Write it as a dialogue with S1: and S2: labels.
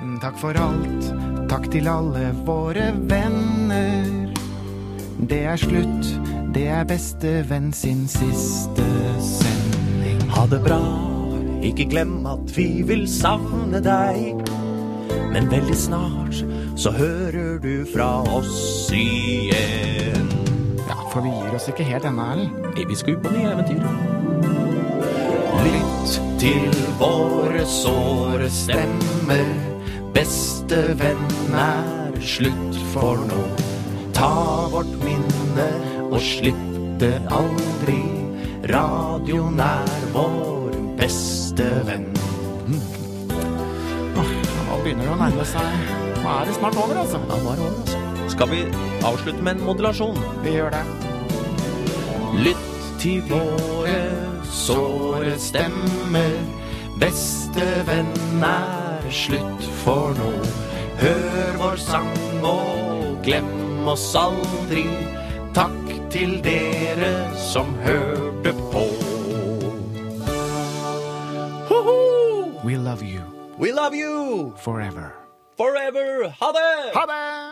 S1: Tusen takk for alt. Takk til alle våre venner. Det er slutt. Det er bestevenn sin siste sending.
S2: Ha det bra, ikke glem at vi vil savne deg. Men veldig snart så hører du fra oss igjen.
S1: Ja, for vi gir oss ikke helt ennå, Erlend.
S2: Nei, Vi skal ut på nye eventyr. Lytt til våre såre stemmer. Bestevenn er slutt for nå. Ta vårt minne og slipp det aldri. Radioen er vår beste venn.
S1: Nå begynner det å nærme seg. Nå er det snart over, altså.
S2: Ja, nå er det over, altså. Skal vi avslutte med en modulasjon?
S1: Vi gjør det.
S2: Lytt til våre såre stemmer. Bestevenn er slutt for nå. Hør vår sang og glem oss aldri. Takk til dere som hørte på. Hoho!
S1: We love you
S2: We love you
S1: forever.
S2: forever. Ha det!
S1: Ha det!